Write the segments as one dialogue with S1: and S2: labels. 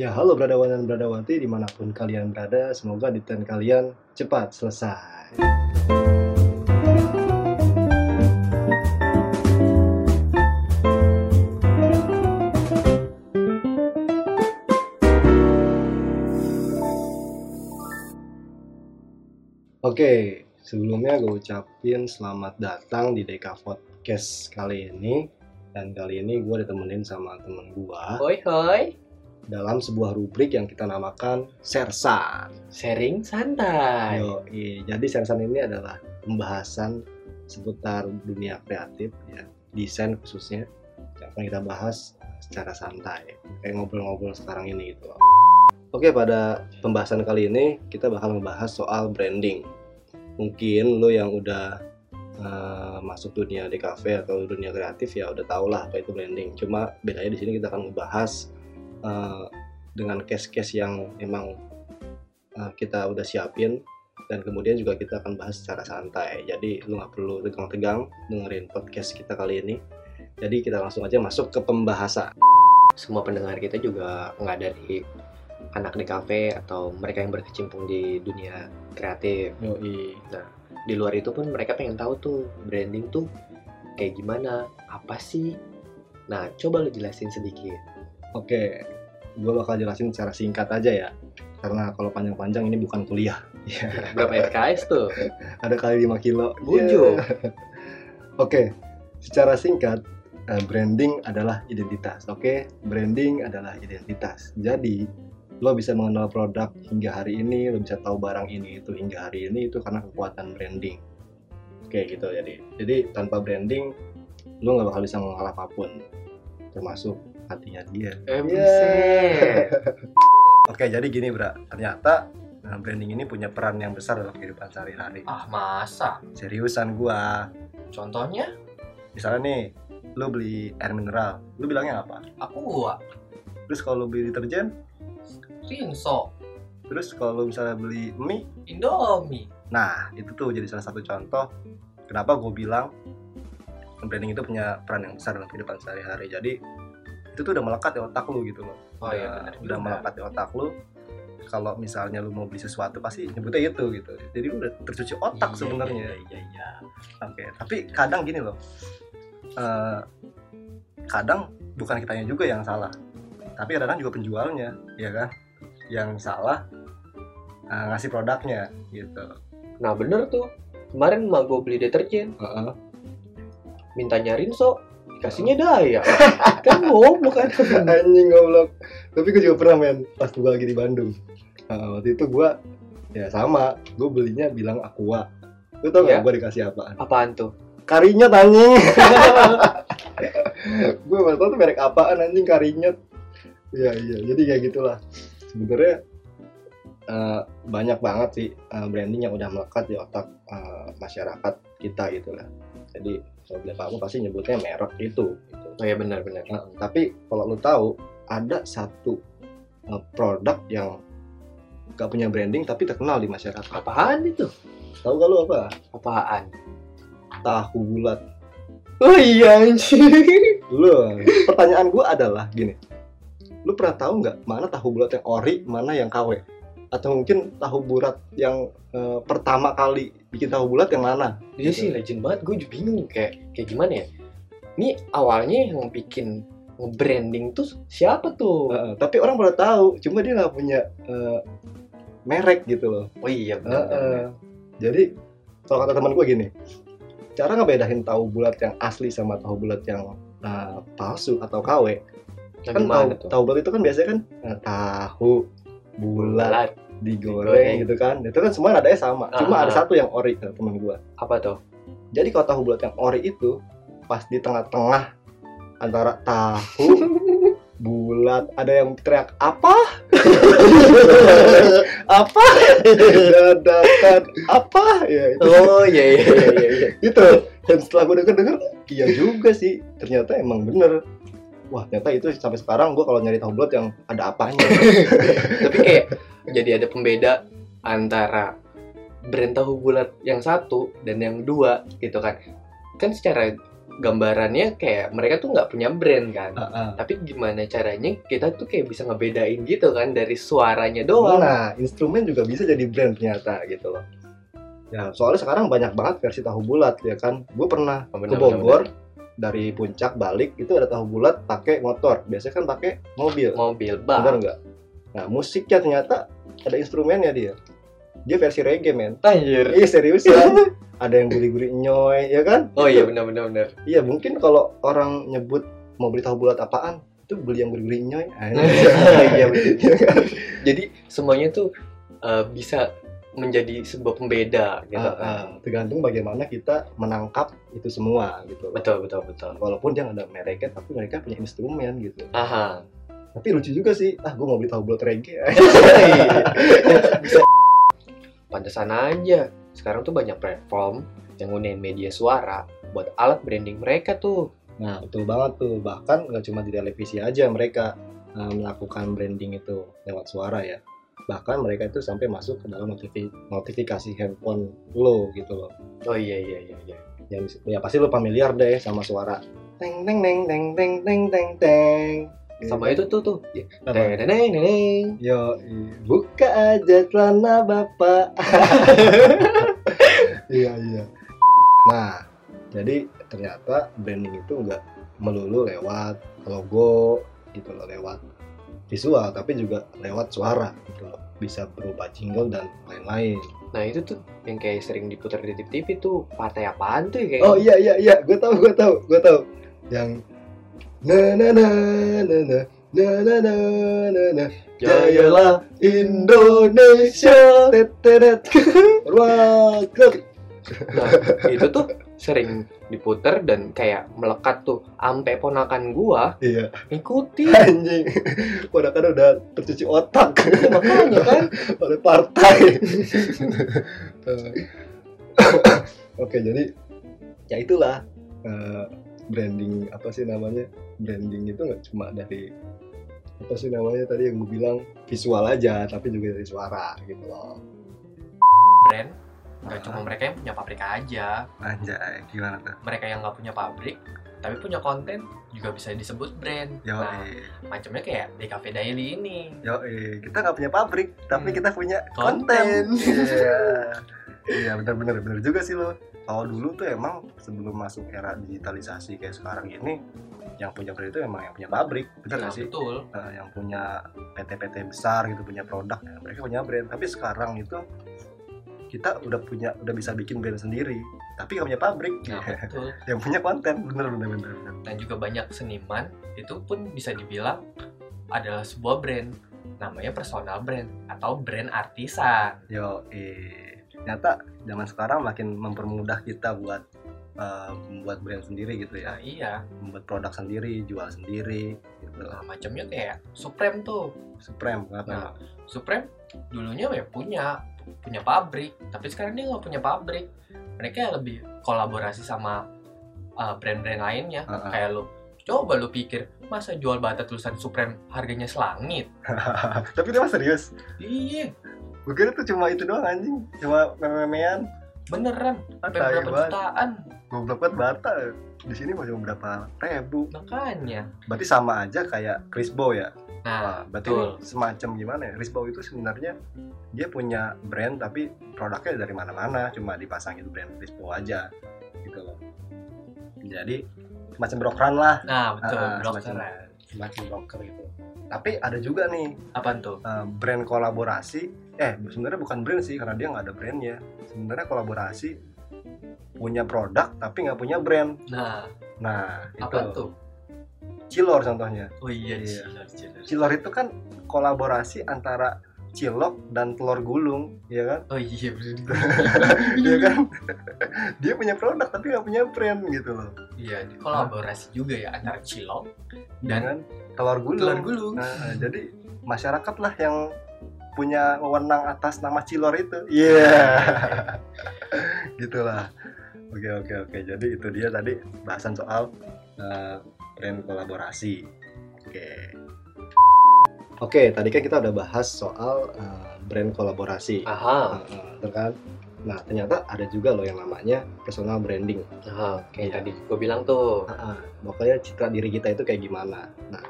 S1: Ya, halo Bradawan dan Bradawati dimanapun kalian berada, semoga deadline kalian cepat selesai. Oke, sebelumnya gue ucapin selamat datang di Deka Podcast kali ini. Dan kali ini gue ditemenin sama temen gue
S2: Hoi hoi,
S1: dalam sebuah rubrik yang kita namakan Sersan.
S2: sharing santai.
S1: Yoi. Jadi Sersan ini adalah pembahasan seputar dunia kreatif, ya, desain khususnya yang akan kita bahas secara santai, kayak ngobrol-ngobrol sekarang ini gitu. loh. Oke, pada pembahasan kali ini kita bakal membahas soal branding. Mungkin lo yang udah eh, masuk dunia di cafe atau dunia kreatif ya udah tau lah apa itu branding. Cuma bedanya di sini kita akan membahas eh, dengan case-case yang emang eh, kita udah siapin dan kemudian juga kita akan bahas secara santai. Jadi lu nggak perlu tegang-tegang dengerin podcast kita kali ini. Jadi kita langsung aja masuk ke pembahasan.
S2: Semua pendengar kita juga nggak dari anak di kafe atau mereka yang berkecimpung di dunia kreatif.
S1: Yoi.
S2: Di luar itu pun mereka pengen tahu tuh branding tuh kayak gimana, apa sih? Nah, coba lu jelasin sedikit.
S1: Oke, gue bakal jelasin secara singkat aja ya. Karena kalau panjang-panjang ini bukan kuliah.
S2: Berapa RKS tuh?
S1: Ada kali 5 kilo.
S2: Bujuk.
S1: Yeah. Oke, secara singkat eh, branding adalah identitas. Oke, branding adalah identitas. Jadi lo bisa mengenal produk hingga hari ini, lo bisa tahu barang ini itu hingga hari ini itu karena kekuatan branding. Oke gitu jadi. Jadi tanpa branding lo nggak bakal bisa mengenal apapun, termasuk hatinya dia.
S2: Eh,
S1: Yeah.
S2: buset.
S1: Oke jadi gini Bra, ternyata eh, branding ini punya peran yang besar dalam kehidupan sehari-hari.
S2: Ah, masa?
S1: Seriusan gua,
S2: Contohnya
S1: misalnya nih lo beli air mineral, lo bilangnya apa?
S2: aku gua,
S1: Terus kalau lo beli deterjen,
S2: Rinso,
S1: terus kalau lo misalnya beli mie,
S2: Indomie.
S1: nah itu tuh jadi salah satu contoh kenapa gue bilang branding itu punya peran yang besar dalam kehidupan sehari-hari. Jadi itu tuh udah melekat di otak lu gitu loh.
S2: Oh iya,
S1: Udah-
S2: benar juga.
S1: udah melekat di otak lu. Kalau misalnya lu mau beli sesuatu pasti nyebutnya itu gitu. Jadi lu udah tercuci otak
S2: Iya,
S1: sebenarnya.
S2: Iya, iya, iya.
S1: Oke, tapi kadang gini loh. Eh, kadang bukan kitanya juga yang salah, tapi kadang juga penjualnya, ya kan? Yang salah eh, ngasih produknya gitu.
S2: Nah bener tuh Kemarin emak gue beli deterjen Minta nyariin so Dikasihnya daya Kan goblok kan
S1: Anjing goblok. Tapi gue juga pernah main pas gue lagi di Bandung. Eh, waktu itu gue ya sama, gue belinya bilang Aqua. Lu tau gak
S2: Iya.
S1: gue dikasih apaan?
S2: Apaan tuh?
S1: Karinyet anjing. gue baru tau tuh merek apaan anjing karinyet. Iya iya, jadi kayak gitulah. Sebenarnya eh, banyak banget sih eh, branding yang udah melekat di otak eh, masyarakat kita gitu lah. Jadi kalau beli apa pasti nyebutnya merek itu. Gitu.
S2: Oh ya bener bener
S1: Nah, tapi kalau lu tahu ada satu eh, produk yang gak punya branding tapi terkenal di masyarakat.
S2: Apaan itu?
S1: Tahu gak lu apa?
S2: Apaan?
S1: Tahu bulat.
S2: Oh iya anjir
S1: Lu, pertanyaan gue adalah gini. Lu pernah tahu nggak mana tahu bulat yang ori, mana yang KW? Atau mungkin tahu bulat yang eh, pertama kali bikin tahu bulat yang mana?
S2: Dia Iya sih legend banget Gue juga bingung kayak Kayak gimana ya Ini awalnya yang bikin Nge-branding tuh siapa tuh?
S1: Eh, tapi orang pada tahu, cuma dia nggak punya eh, merek gitu loh.
S2: Oh iya
S1: Eh, eh. Jadi kalau kata teman gue gini, cara ngebedahin tahu bulat yang asli sama tahu bulat yang eh, palsu atau KW,
S2: Nah,
S1: kan
S2: gimana
S1: tahu,
S2: tuh?
S1: tahu bulat itu kan biasanya kan eh, tahu bulat
S2: Bulat.
S1: digoreng gitu kan itu kan semua nadanya sama cuma
S2: Ah.
S1: ada satu yang ori kata teman gua
S2: Apa tuh?
S1: jadi kalau tahu bulat yang ori itu pas di tengah-tengah antara tahu bulat ada yang teriak apa apa dadakan apa ya itu
S2: Oh iya iya iya iya, iya
S1: itu dan setelah gue denger denger iya juga sih ternyata emang bener wah ternyata itu sampai sekarang gua kalau nyari tahu bulat yang ada apanya
S2: tapi kayak jadi ada pembeda antara brand tahu bulat yang satu dan yang dua gitu kan kan secara gambarannya kayak mereka tuh nggak punya brand kan
S1: Heeh.
S2: tapi gimana caranya kita tuh kayak bisa ngebedain gitu kan dari suaranya doang
S1: Nah, instrumen juga bisa jadi brand ternyata gitu loh. Ya, soalnya sekarang banyak banget versi tahu bulat ya kan. Gue pernah ke
S2: Oh, bener, bener,
S1: Bogor dari puncak balik itu ada tahu bulat pakai motor. Biasanya kan pakai mobil.
S2: bener. mobil
S1: Bener
S2: bang
S1: nggak? Nah, musiknya ternyata ada instrumennya dia. Dia versi reggae, men.
S2: anjir
S1: Iya, serius ya. ada yang gurih-gurih nyoy, ya kan?
S2: oh iya
S1: Itu-
S2: benar benar benar
S1: Iya, mungkin kalau orang nyebut mau beli tahu bulat apaan, itu beli yang gurih-gurih nyoy.
S2: Iya, betul.
S1: Iya kan?
S2: jadi semuanya tuh eh, bisa menjadi sebuah pembeda gitu
S1: Ah,
S2: kan.
S1: ah. tergantung bagaimana kita menangkap itu semua gitu.
S2: betul betul betul
S1: Walaupun dia nggak ada mereknya, tapi mereka punya instrumen gitu.
S2: aha
S1: Tapi lucu juga sih. Ah, gue mau beli tahu bulat reggae.
S2: bisa pantesan aja sekarang tuh banyak platform yang gunain media suara buat alat branding mereka tuh
S1: Nah, betul banget tuh. Bahkan nggak cuma di televisi aja mereka eh, melakukan branding itu lewat suara ya. Bahkan mereka itu sampai masuk ke dalam notifi- notifikasi handphone lo gitu loh.
S2: oh iya iya iya iya
S1: Ya, mis- ya pasti lo familiar deh sama suara teng teng teng teng teng teng teng teng. Gitu.
S2: sama itu tuh Ya, tuh
S1: Iya, Apa?
S2: Neneng, neneng.
S1: Yo, buka aja celana bapak. iya iya. Nah, jadi ternyata branding itu nggak melulu lewat logo gitu loh, lewat visual, tapi juga lewat suara gitu loh. Bisa berupa jingle dan lain-lain.
S2: Nah itu tuh yang kayak sering diputar di TV tuh partai apaan tuh ya kayak
S1: Oh iya iya iya, gue tahu gue tahu gue tahu. Yang na na na na na na na na na na iya.
S2: Jayalah
S1: Indonesia tetet Rocket
S2: Nah, itu tuh sering diputar dan kayak melekat tuh ampe ponakan gua
S1: Iya
S2: ngikutin
S1: Anjing Padahal kan udah tercuci otak
S2: makanya kan
S1: Oleh partai Eh, Oke jadi Ya itulah eh, Branding apa sih namanya Branding itu nggak cuma dari Apa sih namanya tadi yang gue bilang Visual aja tapi juga dari suara gitu loh
S2: brand nggak cuma mereka yang punya pabrik aja
S1: Anjay gimana tuh
S2: mereka yang nggak punya pabrik tapi punya konten juga bisa disebut brand nah macamnya kayak di cafe daily ini
S1: Yo, kita nggak punya pabrik, tapi
S2: Hmm.
S1: kita punya
S2: Konten.
S1: konten. Iya, iya benar-benar benar juga sih lo. Kalau dulu tuh emang sebelum masuk era digitalisasi kayak sekarang ini, yang punya brand itu emang yang punya pabrik, benar
S2: Nah,
S1: nggak sih?
S2: betul
S1: Eh, yang punya PT-PT besar gitu punya produk, ya, mereka punya brand. Tapi sekarang itu kita udah punya udah bisa bikin brand sendiri, tapi nggak punya pabrik,
S2: nah, betul
S1: yang punya konten, bener bener bener. bener.
S2: dan juga banyak seniman itu pun bisa dibilang adalah sebuah brand namanya personal brand atau brand artisan
S1: Yo, eh, ternyata zaman sekarang makin mempermudah kita buat eh, membuat brand sendiri gitu ya,
S2: nah iya
S1: membuat produk sendiri, jual sendiri gitu.
S2: nah, macamnya kayak Supreme tuh
S1: Supreme kenapa?
S2: nah Supreme dulunya ya punya punya pabrik tapi sekarang dia nggak punya pabrik mereka lebih kolaborasi sama uh, brand-brand lainnya
S1: Heeh.
S2: kayak lu coba lu pikir masa jual bata tulisan Supreme harganya selangit
S1: Tapi dia mah serius.
S2: iya
S1: Gue kira tuh cuma itu doang anjing, cuma mememean.
S2: beneran
S1: Ah,
S2: sampai
S1: tai
S2: berapa
S1: banget.
S2: jutaan
S1: Goblok banget bata. Di sini mau cuma berapa ribu.
S2: makanya
S1: Berarti sama aja kayak Crisbo ya.
S2: nah
S1: Nah, berarti
S2: betul
S1: ini semacam gimana ya? Crisbo itu sebenarnya dia punya brand tapi produknya dari mana-mana, cuma dipasangin brand Crisbo aja gitu loh. Jadi semacam brokeran lah,
S2: nah betul
S1: Ah, ah,
S2: dokter
S1: semacam- semacam broker gitu. Tapi ada juga nih
S2: apaan tuh
S1: eh, brand kolaborasi, eh sebenarnya bukan brand sih karena dia nggak ada brandnya. Sebenarnya kolaborasi punya produk tapi nggak punya brand.
S2: nah
S1: Nah, itu
S2: apaan tuh
S1: Cilor contohnya.
S2: oh iya
S1: Iya.
S2: cilor, cilor.
S1: Cilor itu kan kolaborasi antara cilok dan telur gulung, ya kan?
S2: oh iya bener. Hmm. Iya
S1: Dia kan dia punya produk tapi nggak punya brand gitu loh.
S2: iya kolaborasi juga ya antara cilok
S1: Ya
S2: dan
S1: kan? telur gulung.
S2: telur gulung
S1: Nah, eh, jadi masyarakat lah yang punya wewenang atas nama Cilor itu. Iya. Gitulah. Oke, oke, oke. Jadi itu dia tadi bahasan soal eh, brand kolaborasi. Oke. Oke, tadi kan kita udah bahas soal eh, brand kolaborasi.
S2: aha
S1: Heeh, betul kan Nah ternyata ada juga loh yang namanya personal branding.
S2: Nah, kayak
S1: Iya.
S2: tadi gue bilang tuh.
S1: Ah, ah. pokoknya citra diri kita itu kayak gimana. Nah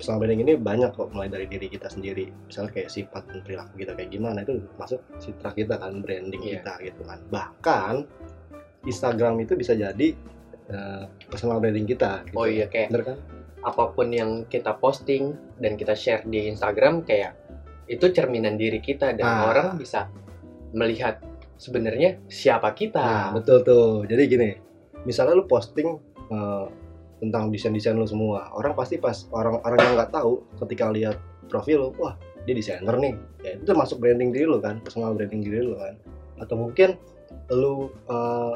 S1: personal branding ini banyak kok mulai dari diri kita sendiri. Misalnya kayak sifat dan perilaku kita kayak gimana itu masuk citra kita kan branding
S2: Iya.
S1: kita gitu kan. Bahkan Instagram itu bisa jadi eh, personal branding kita. Gitu.
S2: Oh iya kayak
S1: Bener kan?
S2: apapun yang kita posting dan kita share di Instagram kayak itu cerminan diri kita dan
S1: Ah.
S2: orang bisa melihat sebenarnya
S1: Nah,
S2: siapa kita.
S1: betul tuh. Jadi gini, misalnya lu posting eh, tentang desain-desain lu semua, orang pasti pas orang-orang yang nggak tahu ketika lihat profil lu, wah dia desainer nih. Ya itu termasuk branding diri lu kan, personal branding diri lu kan. Atau mungkin lu eh,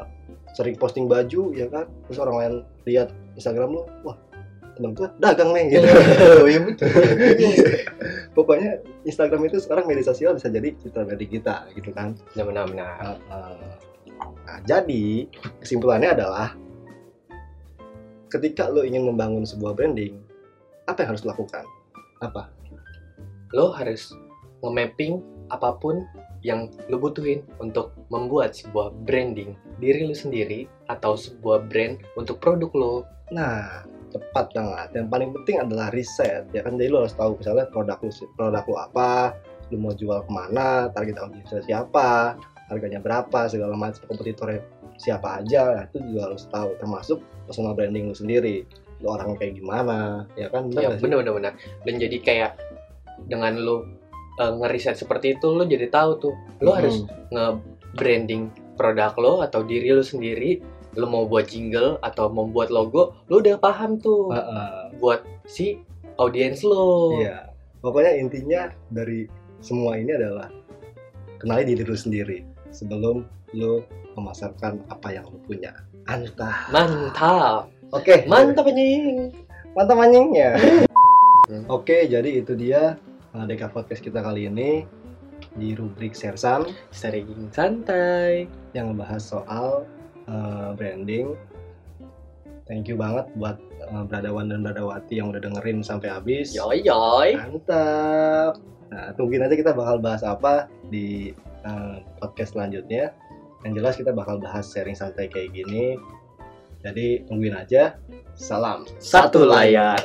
S1: sering posting baju ya kan, terus orang lain lihat Instagram lu, wah temen gua dagang nih gitu.
S2: iya betul.
S1: Pokoknya Instagram itu sekarang media sosial bisa jadi citra branding kita gitu kan.
S2: Nah, benar benar.
S1: Nah, jadi kesimpulannya adalah ketika lo ingin membangun sebuah branding, apa yang harus lo lakukan? Apa?
S2: Lo harus nge-mapping apapun yang lo butuhin untuk membuat sebuah branding diri lo sendiri atau sebuah brand untuk produk lo.
S1: Nah, cepat banget. Yang paling penting adalah riset. Ya kan jadi lo harus tahu misalnya produk lo, produk lo apa, lo mau jual kemana, target audiensnya siapa, harganya berapa, segala macam kompetitornya siapa aja. Nah, itu juga harus tahu. Termasuk personal branding lo sendiri. Lo orangnya kayak gimana, ya kan? Bener
S2: Iya
S1: nggak sih?
S2: bener bener bener. Dan jadi kayak dengan lo eh, ngeriset seperti itu lo jadi tahu tuh lo harus
S1: Hmm.
S2: nge-branding produk lo atau diri lo sendiri lo mau buat jingle atau membuat logo lo udah paham tuh
S1: Heeh.
S2: buat si audiens lo
S1: Iya. Pokoknya intinya dari semua ini adalah kenali diri lu sendiri sebelum lu memasarkan apa yang lu punya. Antah.
S2: mantap
S1: Oke,
S2: mantap anjing
S1: mantap anjing ya.
S2: Hmm.
S1: Oke, jadi itu dia uh, Deka Podcast kita kali ini di rubrik Sersan
S2: sering santai
S1: yang ngebahas soal uh, branding. Thank you banget buat uh, Bradawan dan Bradawati yang udah dengerin sampai habis.
S2: yoy yoy
S1: Mantap. Nah, tungguin aja kita bakal bahas apa di eh, podcast selanjutnya. Yang jelas kita bakal bahas sharing santai kayak gini. Jadi tungguin aja. Salam.
S2: satu layar